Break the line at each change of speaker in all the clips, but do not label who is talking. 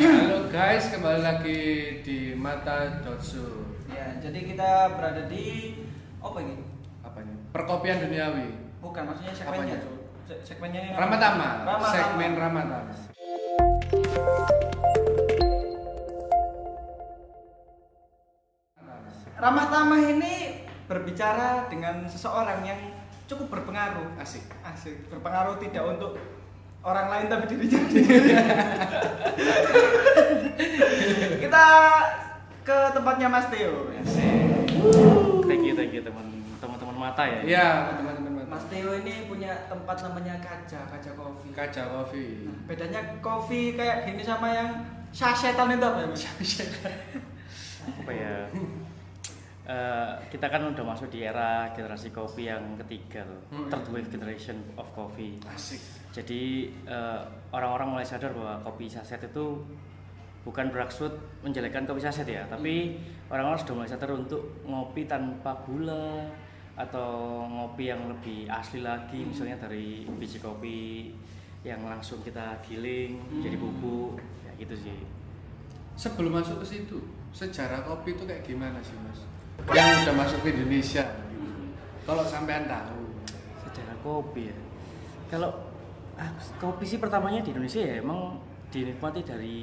Halo guys, kembali lagi di Mata Dotsu.
Ya, jadi kita berada di apa ini?
Apanya? Perkopian duniawi.
Bukan, maksudnya segmennya.
Apanya?
Cuk. Se segmennya yang
Ramatama,
Ya. Ramatama.
segmen Ramatama.
Ramatama ini berbicara dengan seseorang yang cukup berpengaruh.
Asik.
Asik, berpengaruh tidak untuk orang lain tapi dirinya sendiri. kita ke tempatnya Mas Teo.
Thank you, thank you teman teman-teman mata ya.
Iya, teman-teman Mata.
Mas Teo ini punya tempat namanya Kaja, Kaja Coffee.
Kaja Coffee.
Nah, bedanya kopi kayak gini sama yang sasetan itu apa ya mas?
Apa ya? Eh, kita kan udah masuk di era generasi kopi yang ketiga tuh,
Hmm.
third wave generation of coffee.
Asik.
Jadi eh, orang-orang mulai sadar bahwa kopi saset itu bukan bermaksud menjelekkan kopi saset ya, tapi orang-orang sudah mulai sadar untuk ngopi tanpa gula atau ngopi yang lebih asli lagi, misalnya dari biji kopi yang langsung kita giling jadi bubuk, ya gitu sih.
Sebelum masuk ke situ, sejarah kopi itu kayak gimana sih, Mas? Yang udah masuk ke Indonesia. gitu. Kalau sampean tahu.
Sejarah kopi ya. Kalau ah, kopi sih pertamanya di Indonesia ya emang dinikmati dari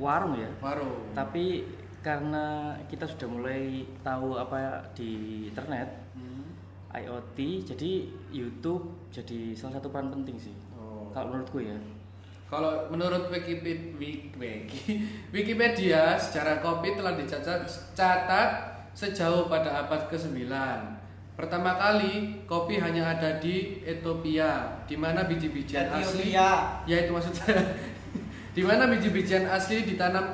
warung ya.
Warung.
Tapi karena kita sudah mulai tahu apa di internet,
Hmm.
IoT, jadi YouTube jadi salah satu peran penting sih.
Oh.
Kalau menurutku ya.
Kalau menurut Wikipedia, Wiki, Wikipedia, sejarah kopi telah dicatat catat sejauh pada abad ke-9. Pertama kali, kopi hanya ada di Ethiopia, di mana biji-bijian asli,
Ethiopia.
ya itu maksudnya, di mana biji-bijian asli ditanam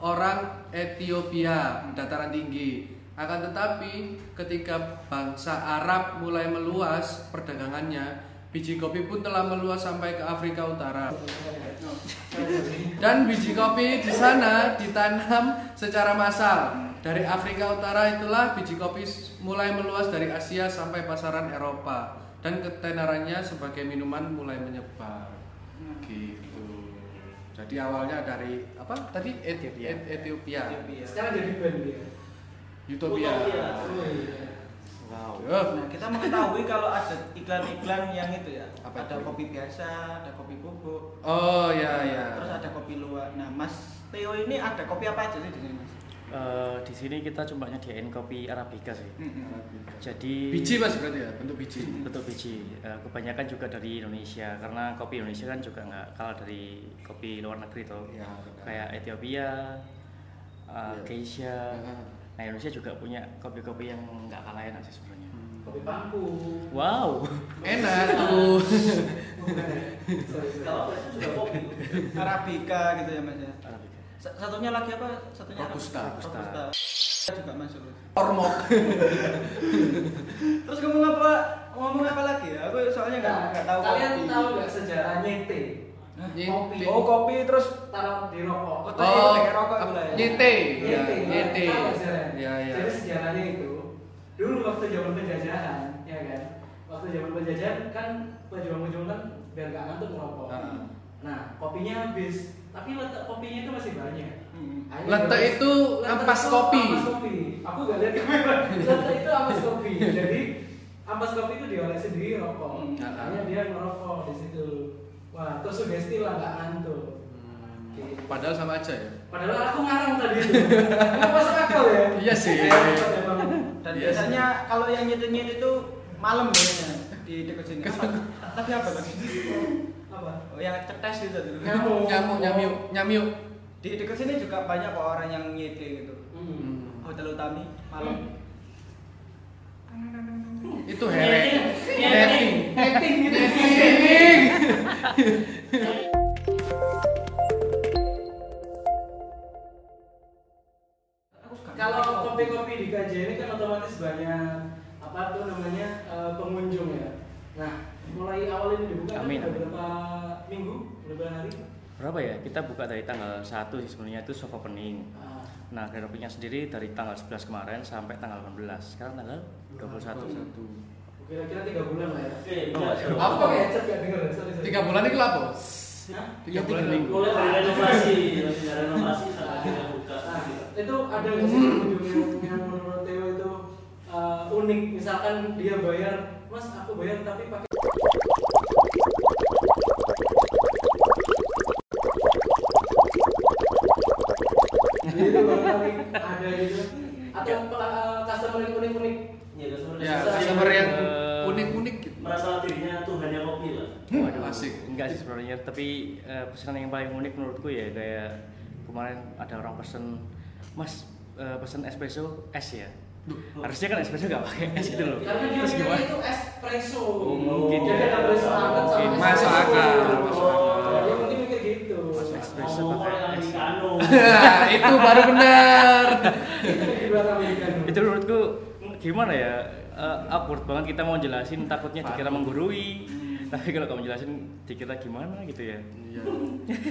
orang Ethiopia, dataran tinggi. Akan tetapi, ketika bangsa Arab mulai meluas perdagangannya, biji kopi pun telah meluas sampai ke Afrika Utara. Dan biji kopi di sana ditanam secara massal. Dari Afrika Utara itulah biji kopi s- mulai meluas dari Asia sampai pasaran Eropa dan ketenarannya sebagai minuman mulai menyebar. Gitu. Jadi awalnya dari apa tadi Ethiopia. Ethiopia.
Sekarang jadi band dia.
Utopia.
Wow.
Eh,
Nah kita mengetahui kalau ada iklan-iklan yang itu ya,
Apa
ada
itu?
kopi biasa, ada kopi bubuk,
Oh ya ya.
terus ada kopi luwak. Nah Mas Teo ini ada kopi apa aja sih di sini mas?
Eh, di sini kita cuma nyediain kopi arabica sih. Jadi
Biji mas berarti ya bentuk biji.
Betul biji. Eh, kebanyakan juga dari Indonesia karena kopi Indonesia kan juga nggak kalah dari kopi luar negeri tuh.
Ya, benar.
Kayak Ethiopia,
Iya.
eh, Geisha.
Heeh.
Nah Indonesia juga punya kopi-kopi yang nggak kalah enak sih sebenarnya.
Hmm.
kopi pangku
Wow.
Enak tuh.
kalau itu juga kopi
Arabica gitu ya mas ya.
Arabica.
Sa- Satunya lagi apa? Satunya apa?
Robusta.
Robusta. Robusta juga masuk.
Ormok.
Terus kamu ngapa ngomong apa lagi ya? Aku soalnya nggak nggak tahu.
kalian
kopi.
tahu nggak sejarah nyete
Nyete.
Oh kopi terus
taruh di ya? rokok gitu
Oh, tadi
Oh,
pakai rokok
apa-
gula ya?
nyete, ya,
Nyete,
nyete.
tahu nggak sejarahnya?
Ya, ya.
jadi sejarahnya itu dulu waktu zaman penjajahan ya kan waktu zaman penjajahan kan pejuang-pejuang kan biar nggak ngantuk ngerokok
Ah.
nah kopinya habis tapi letak kopinya itu masih banyak
Hmm.
Akhirnya
Letek
baru-
itu
Letek
ampas
itu
kopi.
ampas kopi. Aku gak lihat kamera. Letek itu ampas kopi. Jadi ampas kopi itu diolah sendiri rokok.
Hmm.
Makanya dia ngerokok di situ. Wah, terus sugesti lah gak ngantuk. Gitu.
Hmm, Padahal sama aja ya.
Padahal aku ngarang tadi itu. Emang masuk akal ya?
Iya sih.
Emang.
Dan
Iya
biasanya kalau yang nyetir-nyetir itu malam biasanya di dekat sini. Apa? Tapi apa tadi?
Apa?
Oh, yang cetes gitu dulu.
Nyamuk.
Nyamuk, nyamiuk, nyamiuk.
Di dekat sini juga banyak kok orang yang nyetir gitu.
Hmm.
Hotel Utami malam.
Itu hereng.
Iya,
Netting.
Netting gitu.
Netting.
Kalau kopi-kopi di KJ ini kan otomatis banyak apa tuh namanya eh, pengunjung ya. Nah, mulai awal ini dibuka kan
Amin, amin.
beberapa minggu, beberapa hari.
Berapa ya? Kita buka dari tanggal 1 sih sebenarnya itu soft opening.
Ah,
Nah, kopinya sendiri dari tanggal 11 kemarin sampai tanggal 18. Sekarang tanggal 21.
21.
kira-kira tiga bulan lah ya
Apa?
aku ya, pakai headset gak denger sorry sorry
Oh, Tiga bulan ini apa?
Hah?
Tiga
Ya,
bulan
tiga
minggu.
mulai dari renovasi Mulai dari renovasi sampai akhirnya buka
Nah, itu ada nggak sih pengunjung yang, yang menurut Theo itu uh, unik misalkan dia bayar mas aku bayar tapi pakai Gitu, tapi ada gitu atau uh, customer yang unik-unik
ya customer
Ya,
susah.
customer yang
Eh,
unik-unik gitu.
merasa dirinya Tuhannya kopi lah
Waduh,
Asik.
Enggak sih sebenarnya, tapi eh, pesanan yang paling unik menurutku ya kayak kemarin ada orang pesen Mas eh, pesen espresso es ya.
oh.
Harusnya kan espresso nggak pakai es gitu loh.
karena dia
Terus
mikirnya
gimana?
itu espresso
Oh, mungkin
jadi
ya.
ada espresso hangat sama
Mungkin.
espresso.
Masuk
Oh,
akal,
masuk akal.
dia mungkin mikir gitu
espresso
Ngomong
pakai
kayak
es.
Americano.
Nah, itu baru benar.
di belakang Amerika
Itu menurutku gimana ya? eh, awkward banget kita mau jelasin takutnya dikira menggurui. Tapi kalau kamu jelasin dikira gimana gitu ya.
Iya.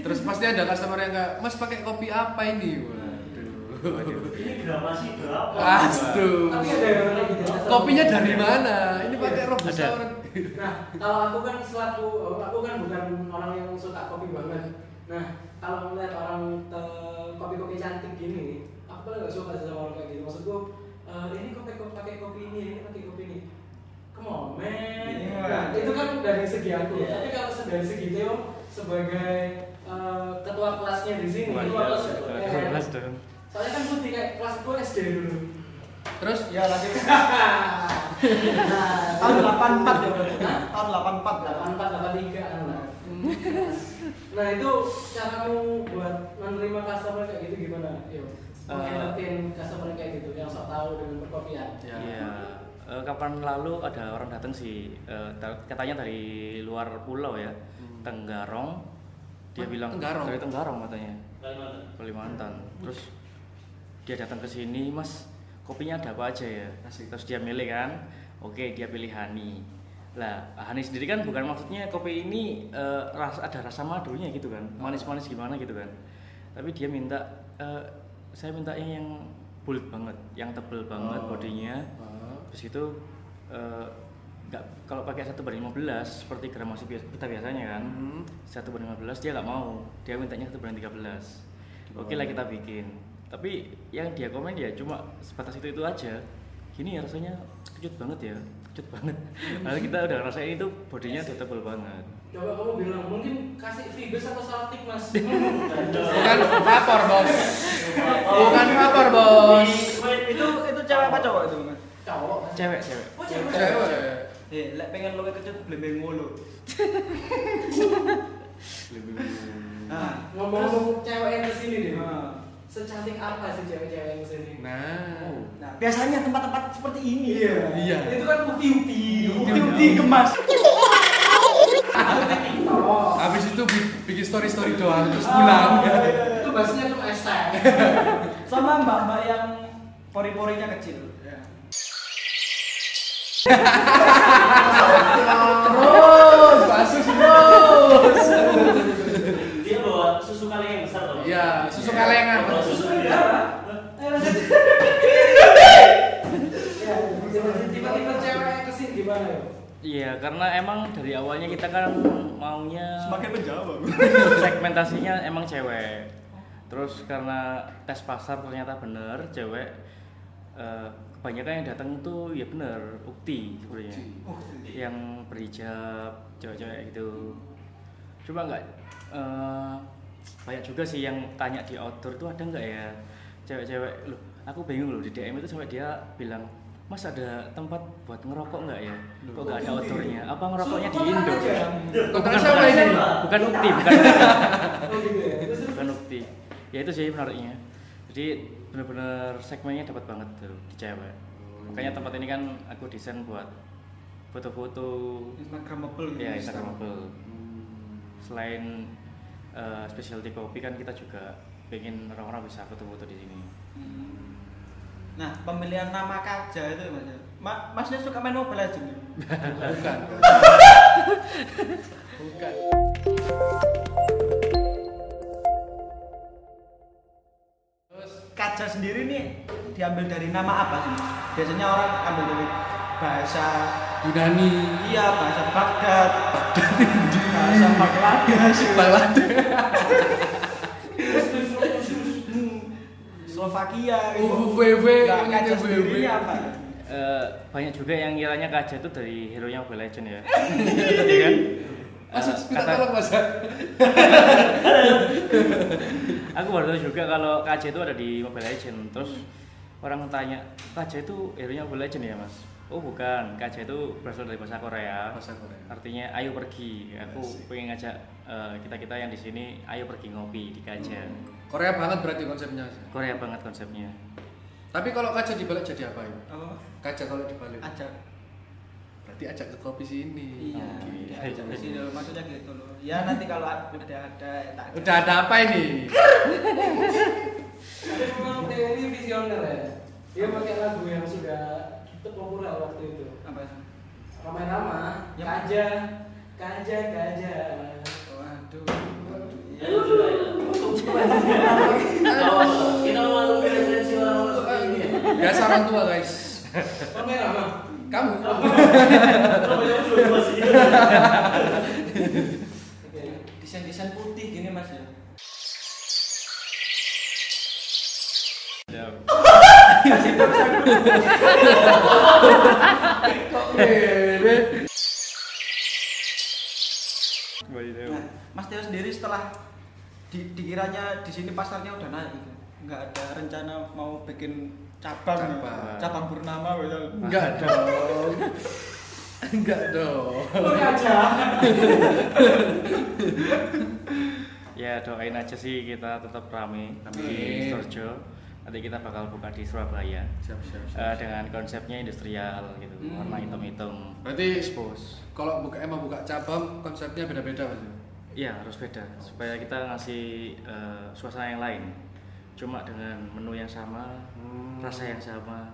Terus pasti ada customer yang nggak, Mas pakai kopi apa ini? Waduh.
ini gramasi berapa
Aduh.
Tapi ada yang lagi jelas.
Kopinya dari mana? Ini pakai
Iya.
robusta
Ada.
orang.
Nah, kalau aku kan selaku aku kan bukan orang yang suka kopi banget. Nah, kalau melihat orang eh, kopi-kopi cantik gini, aku paling gak suka sama orang kayak gitu. Maksudku, eh, ini kopi kopi pakai kopi ini, ini pakai kopi ini. Come on, man.
Iya.
Nah, itu kan dari segi aku.
Iya.
Tapi kalau se- dari segi Theo sebagai eh, ketua kelasnya di sini, ketua kelas, eh,
Jelas dong.
soalnya kan putih kayak kelas gue SD dulu.
Terus
Ya lagi
tahun Nah,
tahun 84 ya berarti.
Hah?
Tahun 84 ya.
84 83 anu lah. nah itu caramu buat menerima customer kayak gitu gimana yo Eh, mengentertain Iya. customer kayak gitu yang sok tahu dengan perkopian
Ya.
Iya. Eh, kapan lalu ada orang datang sih eh, ta- katanya dari luar pulau ya, Tenggarong.
Ah,
Dia bilang
Tenggarong?
dari Tenggarong katanya,
Kalimantan
Kalimantan. Terus dia datang ke sini, "Mas, kopinya ada apa aja ya?"
Asik.
Terus dia milih kan. Oke, dia pilih Hani. Lah, Hani sendiri kan bukan maksudnya kopi ini eh, ras ada rasa madunya gitu kan. Manis-manis gimana gitu kan. Tapi dia minta eh, saya minta yang, yang bulat banget, yang tebel banget
Oh.
bodinya terus itu eh, nggak kalau pakai satu banding 15 seperti gram masih biasa, kita biasanya kan
Hmm.
satu banding 15 dia nggak mau dia mintanya satu banding 13 oke lah kita bikin tapi yang dia komen ya cuma sebatas itu itu aja gini ya rasanya kecut banget ya kecut banget Padahal kita udah ngerasain itu bodinya udah tebel banget
coba kamu bilang mungkin kasih fribes atau saltik mas Kan
bukan vapor, Bos. Bukan vapor, Bos.
Oh, Itu itu cewek apa cowok itu? Mas?
cowok Mas.
cewek cewek
oh cewek
Cewek.
Eh, lek pengen lu kecut blembeng mulu. Ah.
ngomong-ngomong cewek yang kesini deh
Ah.
secantik apa sih cewek-cewek yang kesini
Nah.
Nah, biasanya tempat-tempat seperti ini.
Iya.
itu kan upi-upi
Uti-uti gemas.
oh
Habis itu bi- bikin story-story doang terus pulang.
itu bahasanya tuh E. hashtag
Sama mbak-mbak yang pori-porinya kecil.
Terus, kasus terus.
dia bawa susu kaleng yang besar loh
Iya, susu kalengan.
Bawa susu
Ya.
kaleng
Ya, tiba-tiba cewek kesini gimana ya?
Iya, karena emang dari awalnya kita kan maunya
Semakin menjawab.
segmentasinya emang cewek terus karena tes pasar ternyata bener cewek eh, kebanyakan yang datang tuh ya bener ukti sebenarnya
Oh,
yang berhijab cewek-cewek gitu cuma nggak eh, banyak juga sih yang tanya di outdoor tuh ada nggak ya cewek-cewek loh aku bingung loh di DM itu sampai dia bilang Mas ada tempat buat ngerokok nggak ya? Kok nggak ada outdoornya? Apa ngerokoknya di
Suruh
Indo?
kontak aja.
Kontaknya siapa ini?
Bukan ukti, bukan ukti
Oh gitu ya. Terus
bukan ukti ya itu sih menariknya jadi bener-bener segmennya dapat banget tuh di cewek makanya tempat ini kan aku desain buat foto-foto
Instagramable gitu.
ya instagramable selain eh, specialty kopi kan kita juga pengen orang-orang bisa foto-foto di sini
Hmm. Nah, pemilihan nama kaja itu mas. ya. Ma- masnya suka main Mobile Legends?
Bukan. Bukan. Terus
Kaja sendiri nih diambil dari nama apa sih? Mas? Biasanya orang ambil dari bahasa
Yunani,
Iya, bahasa Baghdad. bahasa Bangladesh,
Bangladesh,
Hmm, Slovakia gitu.
UVV,
Nggak kaca
UVV.
sendirinya, Pak.
Eh, banyak juga yang kiranya kaca itu dari hero nya Mobile Legend ya. Iya kan?
Nah,
Masuk
Eh,
minta tolong mas.
aku baru tahu juga kalau KJ itu ada di Mobile Legend terus
Hmm.
orang tanya KJ itu hero nya Mobile Legend ya mas oh bukan KJ itu berasal dari bahasa
Nah,
Korea
Bahasa Korea.
artinya ayo pergi aku
Asik.
pengen ngajak kita kita yang di sini ayo pergi ngopi di KJ
Korea banget berarti konsepnya.
Korea banget konsepnya
Tapi kalau kaca dibalik jadi apa ini?
Apa?
Kaca kalau dibalik.
Ah.
Ajak.
Berarti ajak ke kopi sini.
Iya,
Oke.
udah ajak ke sini loh, maksudnya gitu loh. Ya nanti kalau ad- udah ada ya tak.
Udah ada apa ini?
Tapi memang Teo ini visioner ya. Dia pakai lagu yang sudah populer waktu itu.
Apa?
Ramai-ramai,
Yap.
kaja, kaja, kaja.
Waduh. Iya.
Ya, lucu lah ya. Kalau kita mau ngambil referensi orang-orang seperti ini ya.
Biasa orang tua guys.
Ramai-ramai.
Kamu?
Kalau banyak lucu, lucu sih.
Oke.
Desain-desain putih gini Mas ya.
Ya,
Nah, Mas Teo sendiri setelah di- dikiranya di sini pasarnya udah naik gitu. Enggak ada rencana mau bikin cabang
Cabang.
cabang bernama misal.
Enggak dong. Enggak dong.
Lu kaja.
ya doain aja sih kita tetap rame
Amin.
di Storjo nanti kita bakal buka di Surabaya
Siap siap. Hmm.
Eh, dengan konsepnya industrial gitu warna hitam-hitam
Berarti-
expose
Kalau buka emang buka cabang konsepnya beda-beda mas.
Iya harus beda supaya kita ngasih eh, suasana yang lain. Cuma dengan menu yang sama,
Hmm.
rasa yang sama.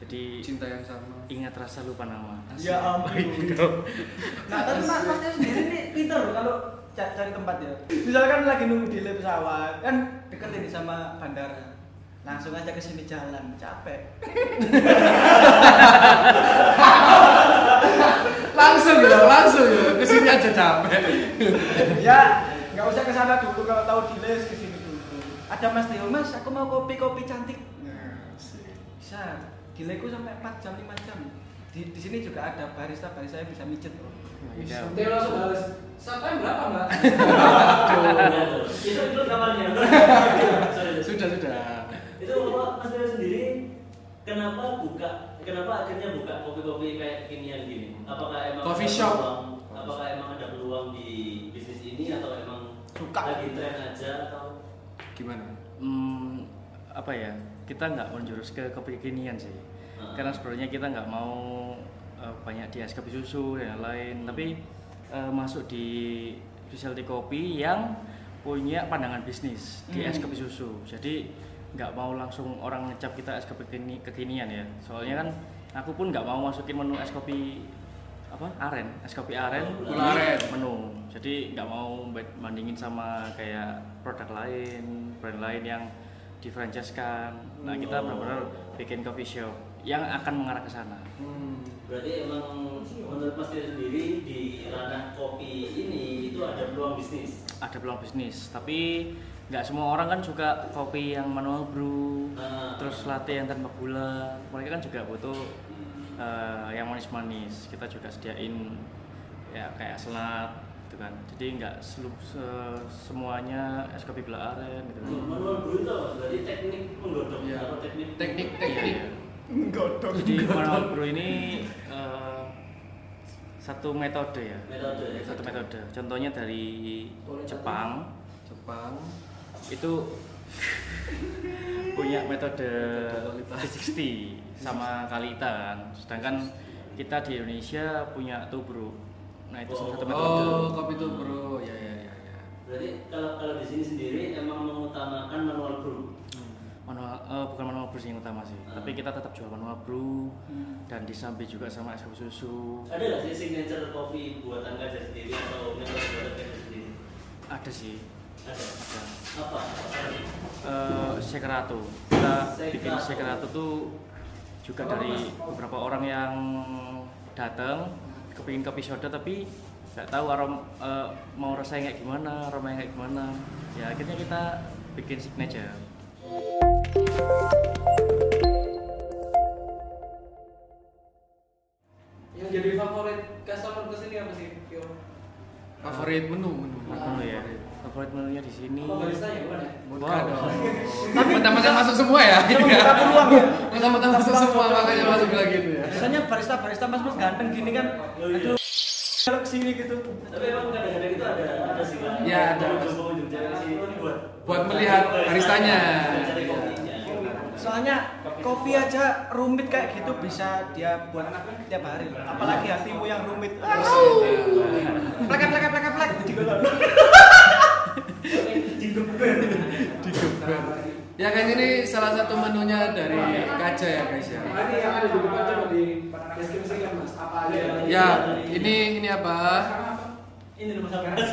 Jadi
Cinta yang sama. Iya.
ingat rasa lupa nama.
Ya ampun. nah, tapi Mas, Mas Teo sendiri ini pinter loh kalau ca- cari tempat ya. Misalkan lagi nunggu di lab pesawat, kan deket ini sama bandara. Langsung aja ke sini jalan, capek.
Langsung ya, langsung ya. Kesini aja capek.
ya, nggak usah ke sana dulu kalau tahu di les ke sini dulu. Ada Mas Teo, Mas, aku mau kopi-kopi cantik. Ya, bisa gileku sampai 4 jam 5 jam di, di sini juga ada barista barista yang bisa mijet loh
Ya,
Teo langsung balas. Sampai berapa mbak?
Nah, tuh. Itu itu kamarnya. Sorry, sorry.
Sudah sudah.
itu Bapak, Mas Dewa sendiri kenapa buka kenapa akhirnya buka kopi-kopi kayak kekinian gini apakah emang
Coffee
ada
shop.
peluang, apakah emang ada peluang di bisnis ini atau emang
Suka.
lagi tren aja atau
Gimana?
Hmm, apa ya? Kita nggak menjurus ke kopi kekinian sih.
Hmm.
Karena sebenarnya kita nggak mau eh, banyak di es kopi susu dan lain-lain. Tapi eh, masuk di specialty kopi yang punya pandangan bisnis di es
Hmm.
kopi susu. Jadi nggak mau langsung orang ngecap kita es kopi kekini- kekinian ya. Soalnya kan aku pun nggak mau masukin menu es kopi apa aren, es kopi aren,
Gula
di
aren.
menu. Jadi nggak mau ba- bandingin sama kayak produk lain, brand lain yang di franchise kan. Nah
Oh.
kita benar-benar bikin coffee shop yang akan mengarah ke sana.
berarti emang menurut Mas Dewa sendiri di ranah kopi ini itu ada peluang bisnis
Ada peluang bisnis, tapi nggak semua orang kan suka kopi yang manual brew,
Ah.
terus latte yang tanpa gula. Mereka kan juga butuh eh, yang manis-manis. Kita juga sediain ya kayak selat gitu kan. Jadi nggak selu- se- semuanya es kopi gula aren gitu. kan.
manual brew itu apa? berarti teknik menggodok
Iya.
atau teknik
Teknik
Iya,
teknik.
iya.
godok
Jadi Manual Bro ini eh, satu metode ya.
Metode, ya.
Satu metode. Contohnya dari
Boleh
Jepang
Jepang.
itu punya metode
Metode Kalita.
360 sama Kalita kan. Sedangkan kita di Indonesia punya Tubruk. Nah, itu
Oh.
satu metode.
Oh, kopi itu bro. Ya ya ya ya.
berarti kalau kalau di sini sendiri emang mengutamakan manual brew
Manual eh, bukan manual brew sih yang utama sih,
Hmm.
tapi kita tetap jual manual brew dan disambi juga sama es kopi susu.
Ada nggak sih signature kopi buatan kaca sendiri atau metode buatan kaca sendiri?
Ada sih.
Ada.
Ada.
Apa? Apa?
eh Sekerato. Kita
Sekerato.
bikin Sekerato tuh juga dari beberapa orang yang datang kepingin kopi soda tapi nggak tahu arom eh, mau rasanya kayak gimana aromanya kayak gimana ya akhirnya kita bikin signature
Yang jadi favorit customer kesini apa sih? Yo.
Favorit menu menu.
menu ya favorit menunya di sini
Apa barista ya bukan ya?
Bukan
Wow.
dong. Mentah-mentah masuk semua ya.
Kita membuka peluang ya.
Mentah-mentah masuk semua makanya masuk bilang gitu ya.
Biasanya barista-barista mas-mas ganteng gini kan.
Oh, iya.
Aduh. Kalau kesini gitu.
Tapi emang kadang-kadang itu ada ada sih kan.
Iya, ada.
Pengunjung-pengunjung cewek sih buat
Buat melihat baristanya.
Cari kopinya.
Soalnya kopi aja rumit kayak gitu bisa dia buat tiap hari. Apalagi hatimu yang rumit. Plek plek plek plek.
Ya guys ini salah satu menunya dari Kaja ya guys ya.
Nah, ini yang ada di depan coba di deskripsi kan mas. Apa aja? yang-
Ya ini ini apa?
Ini rumah sakit.
nah,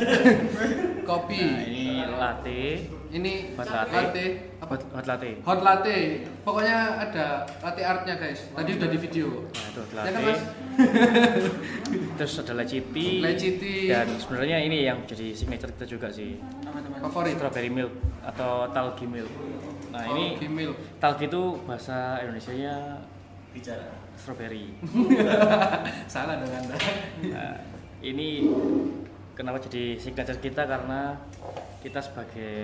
Kopi.
ini latte
Ini
Hot latte.
latte. Apa?
hot, hot latte
Hot latte. Pokoknya ada latte artnya guys. Tadi udah di video.
nah itu hot
Ya kan
latte
mas?
terus ada leci tea
Leciti.
dan sebenarnya ini yang jadi signature kita juga sih
Favorit.
strawberry milk atau talgi milk nah ini
Kopi milk.
talgi itu bahasa Indonesia nya
Bicara.
strawberry
Salah dong anda.
Hmm.
Nah, ini kenapa jadi signature kita karena kita sebagai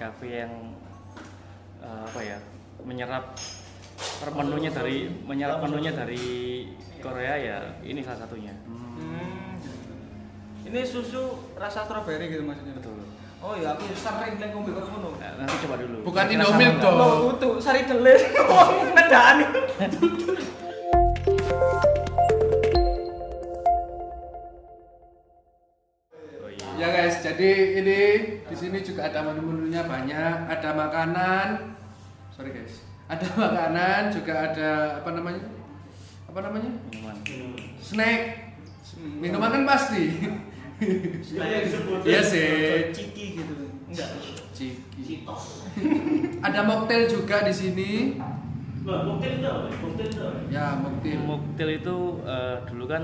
kafe yang eh, apa ya menyerap menunya dari menyerap menunya dari Korea ya ini salah satunya
Ini susu rasa stroberi gitu maksudnya.
betul
Oh iya, aku sering lek ngombe kok ngono.
Nah, nanti coba dulu
Bukan
Kira-kira
Indomilk
sama nggak?
dong.
Loh, utuh, sari delis. Wong nedaan.
oh, iya.
Ya guys, jadi ini di sini juga ada menu-menunya banyak, ada makanan. Sorry guys. Ada makanan, juga ada apa namanya? Apa namanya?
minuman
Snack. Minuman kan pasti.
Sudah yang disebut.
Iya sih.
Ciki gitu. Enggak.
Ciki.
Citos.
Ada mocktail juga di sini.
Wah, mocktail itu apa? Mocktail itu apa?
Ya, mocktail.
Mocktail itu eh, dulu kan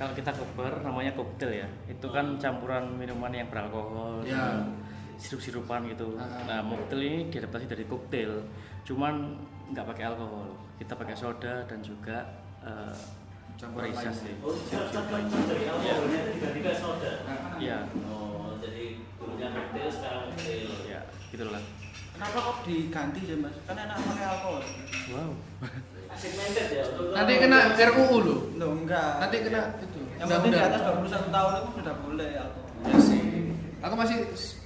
kalau kita ke bar namanya koktail ya. Itu kan campuran minuman yang beralkohol,
Ya.
dengan sirup-sirupan gitu.
Ah.
Nah, mocktail ini diadaptasi dari koktail, cuman nggak pakai alkohol. Kita pakai soda dan juga eh,
Campuran
merica
lain.
sih.
Oh, cocok-cocok dari awalnya tiba-tiba soda.
Nah,
Iya,
Oh, jadi dulunya mocktail sekarang mocktail.
ya gitulah.
Kenapa kok diganti sih Mas? Kan enak pakai alkohol.
Wow.
Asik minded ya. untuk-
Nanti kena RUU loh.
Loh, enggak.
Nanti kena itu.
yang penting di atas
undang-undang.
21 tahun itu sudah boleh alkohol.
Ya sih. Aku masih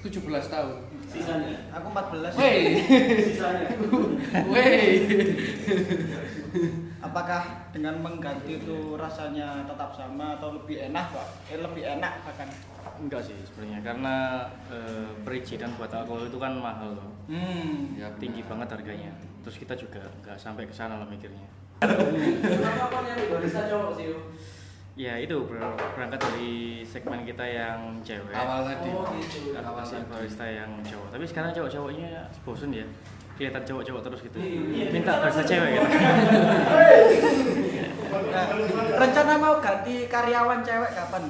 17 tahun.
Sisanya.
Aku 14.
Wey,
Sisanya.
wey.
Apakah dengan mengganti itu rasanya tetap sama atau lebih enak, Pak? Eh, lebih enak bahkan.
Enggak sih sebenarnya karena eh, perizinan buat alkohol itu kan mahal loh.
Hmm.
Ya, benar.
Tinggi banget harganya. Terus kita juga nggak sampai ke sana lah mikirnya.
Kenapa kok nyari barista cowok sih? Yo?
Ya itu ber- berangkat dari segmen kita yang cewek.
Awal tadi.
Oh gitu.
Karena
awal
masih
tadi.
barista yang cowok. Tapi sekarang cowok-cowoknya bosen ya. Kelihatan cowok-cowok terus gitu.
Iya.
Minta barista cewek gitu.
Nah, rencana mau ganti karyawan cewek kapan?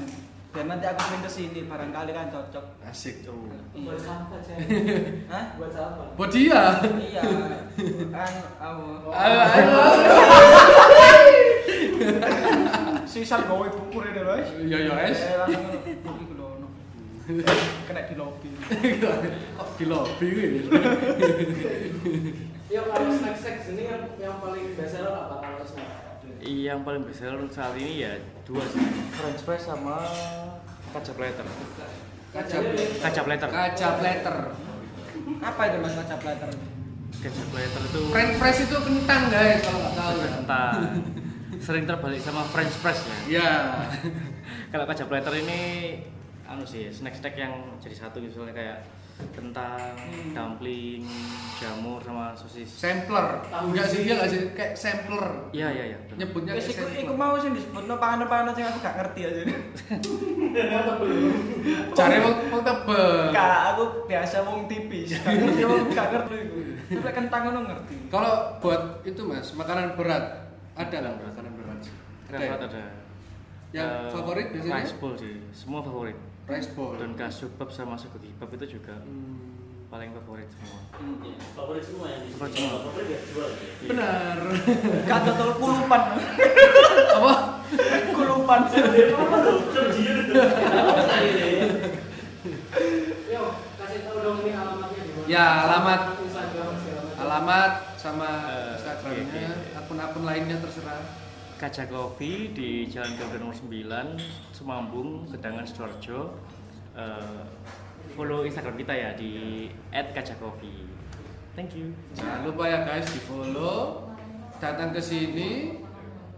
Dan nanti aku main ke sini barangkali kan cocok. Iya.
Asik.
Buat apa cek?
Hah?
Buat apa?
Buat dia.
Iya. Kan aku.
Ayo, ayo.
Sisa gawe buku ini loh. eh.
Yo yo es.
Eh, langsung buku iku lho, ono. Kena di lobi.
Kok di lobi kuwi?
Ya kalau snack snack sini kan yang paling bestseller apa kalau snack?
yang paling besar saat ini ya dua sih. French fries sama kaca plater.
Kacap.
Kaca plater.
Kacap letter.
Apa itu Mas Kaca Plater?
Kaca plater itu
French fries itu kentang guys kalau nggak tahu ya.
entah sering terbalik sama French fries ya.
Ya.
Kalau kaca plater ini anu sih snack-snack yang jadi satu gitu soalnya kayak kentang,
Hmm.
dumpling, jamur sama sosis.
Sampler. Enggak sih dia nggak sih kayak sampler.
Iya iya iya. benar.
Nyebutnya kayak
Wis iku iku
sampler.
mau sing disebutno panganan-panganan sing aku gak ngerti aja.
Eh. Cari wong wong tebel.
Kak, aku biasa wong tipis. Gak ngerti wong gak ngerti iku. Tapi lek kentang ngono ngerti.
Kalau buat itu Mas, makanan berat ada nggak makanan berat?
Kenapa ada?
ya? Yang
eh,
favorit biasanya?
Rice bowl sih, semua favorit.
Rice bowl.
Dan kasubab sama suku kebab itu juga
Hmm,
paling favorit semua.
Ya, favorit semua yang di sini.
Favorit semua.
Favorit gak jual. ya?
Iya.
Benar.
Gak total kulupan.
Apa? Hmm,
kulupan.
Apa tuh? Terjir tuh. Apa ini?
Yo, kasih tahu dong ini alamatnya di mana.
Ya, alamat.
Instagram segala macam.
Alamat sama
Eh,
Instagramnya,
iya, Nah. iya.
akun-akun lainnya terserah.
Kaca Coffee di Jalan Garuda nomor 9, Semambung, Kedangan Sidoarjo. Eh, follow Instagram kita ya di @kacacoffee. Thank you.
Jangan lupa ya guys di follow. Datang ke sini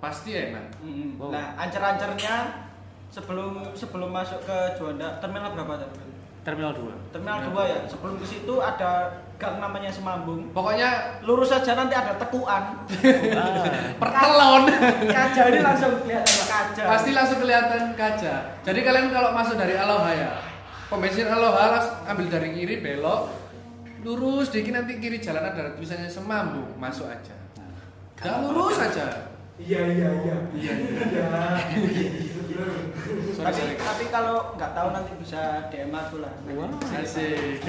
pasti enak.
Mm-mm.
Wow.
Nah, ancer-ancernya sebelum sebelum masuk ke Juanda, terminal berapa tadi?
Terminal 2.
Terminal
Terminal
2 ya. Sebelum ke situ ada gang namanya Semambung.
Pokoknya
Lurus saja nanti ada tekuan.
Ah,
pertelon.
Kaca ini langsung kelihatan kaca.
pasti langsung kelihatan kaca jadi kalian kalau masuk dari Aloha ya pom bensin Aloha langsung ambil dari kiri belok lurus dikit nanti kiri jalan ada tulisannya semambu masuk aja
Nah,
gak lurus aja
Iya, iya, iya.
iya sorry
tapi,
sorry
tapi kalau nggak tahu nanti bisa DM aku lah.
asik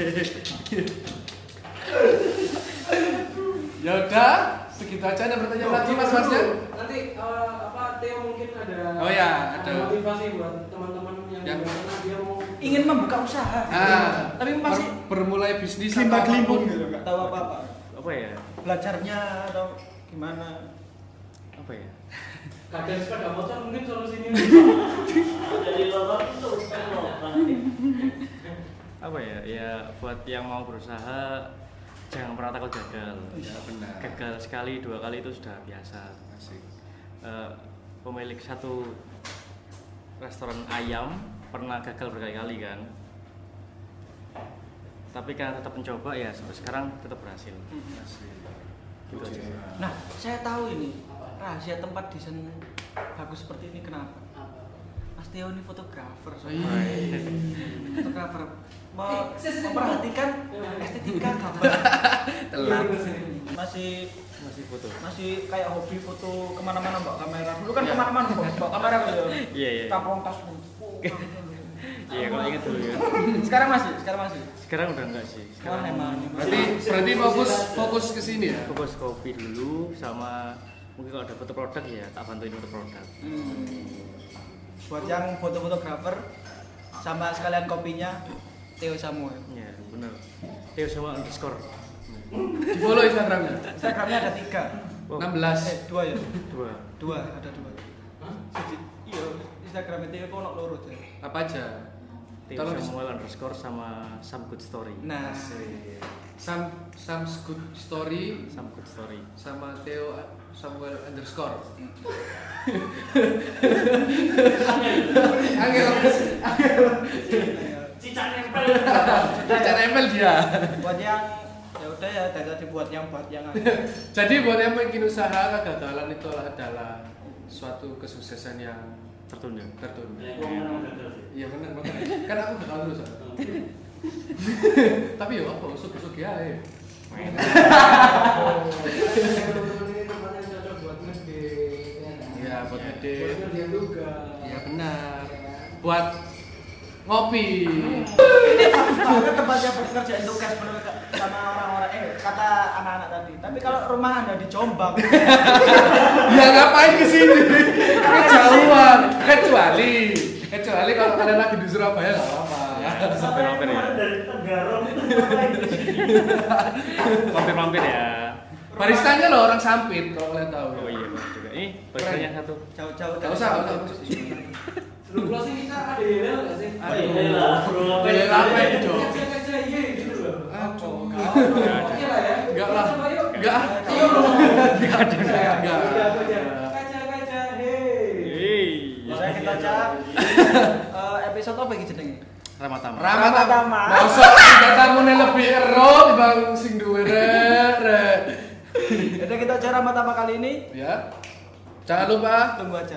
ya udah segitu aja ada pertanyaan lagi mas ya? Marsya
Nanti eh, apa Theo mungkin ada
Oh ya, ada. Ya.
motivasi buat teman-teman yang
Yang-
di sana dia mau
Ingin membuka usaha.
ah
tapi masih
ber- bermulai bisnis atau
gelimba-gelimbung
apapun.
gitu, nggak tahu apa-apa.
apa ya?
Belajarnya atau gimana?
Apa ya?
kadang sepeda motor mungkin solusinya.
Dari lubang itu kan lubang.
Apa ya? Ya buat yang mau berusaha jangan pernah takut gagal.
ya benar
Gagal sekali, dua kali itu sudah biasa.
asik
Eh, pemilik satu restoran ayam pernah gagal berkali-kali kan tapi karena tetap mencoba ya sampai sekarang tetap berhasil
asik
Gitu aja.
Nah, saya tahu ini rahasia tempat desain bagus seperti ini kenapa? Mas Teo ini
Oh,
fotografer, soalnya.
iya.
fotografer me-
Eh, sis, sis,
memperhatikan
sis. Eh.
estetika gambar.
telat
masih
masih foto
masih kayak hobi foto kemana-mana bawa kamera. Dulu
Iya.
kan kemana-mana bawa, bawa kamera gitu.
Iya, iya.
Tampung tas.
iya kalau ingat dulu ya
Sekarang masih, sekarang masih.
sekarang udah enggak sih
Wah,
sekarang
emang.
Berarti berarti fokus fokus ke sini ya.
fokus kopi dulu sama mungkin kalau ada foto produk ya tak bantuin foto produk
Hmm. Buat yang foto-fotografer sama sekalian kopinya Theo Samuel.
ya benar Theo sama underscore
Di follow Instagramnya.
Instagramnya ada tiga,
Wow.
16.
eh dua ya,
dua
dua ada dua. Siji- Iya, Instagramnya Theo kok nggak lurus ya.
Apa aja?
Theo
Tolong
Samuel underscore sama some good story
Nah,
Asik. Sam Sam Good Story
some good story
sama Theo Samuel underscore. Angel
Cicak nempel.
baca email dia.
buat yang ya udah ya dari tadi buat yang buat yang
Jadi buat yang bikin usaha kegagalan itu adalah suatu kesuksesan yang
tertunda
tertunda.
Ya, gua menang gagal sih.
Iya benar makanya. Kan aku gagal terus. ah. Tapi ya apa usuk-usuk ya. ya.
Main.
Teman-teman ini tempat yang cocok buat ngedate. ya kan?
Iya buat
Buat
ngedit.
ngedate juga.
Iya benar. Buat ngopi.
ini bagus banget tempatnya buat ngerjain tugas menurut ka- sama orang-orang eh kata anak-anak tadi tapi kalau rumah anda di Jombang
ya ngapain ke sini? Kejauhan. Kecuali kecuali kalau kalian lagi di Surabaya nggak apa-apa.
Sampai
Hampir-hampir ya.
kemarin dari Tenggarong itu ngapain?
Mampir-mampir ya.
Baristanya loh orang sampit kalau kalian tahu.
Oh iya benar juga. Ini baristanya
Keren.
satu.
jauh-jauh
Nggak usah, nggak usah.
Lu closing kita ada Yelel nggak sih?
Aduh.
Yelah, bro, ngapain?
Yelah, ngapain, Jo?
Kerja-kerja iya gitu loh.
Aduh.
Oke lah ya.
Enggak lah.
Coba yuk. Iya,
Enggak.
Ayo dong.
Enggak ada. Enggak.
Kerja, kerja. Iya, Kaca, kaca, hei.
Hei.
Saya kita cak Eh, episode apa gitu jenenge
Ramatama.
Ramat
Ramatama.
Masa tiga tamu ini lebih ero dibang sing duwe re- re.
jadi kita acara pertama kali ini
Ya. Jangan lupa
tunggu aja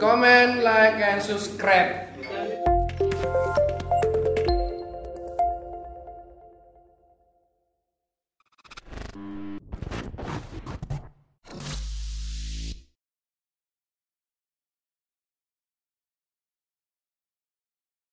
comment, like, and subscribe.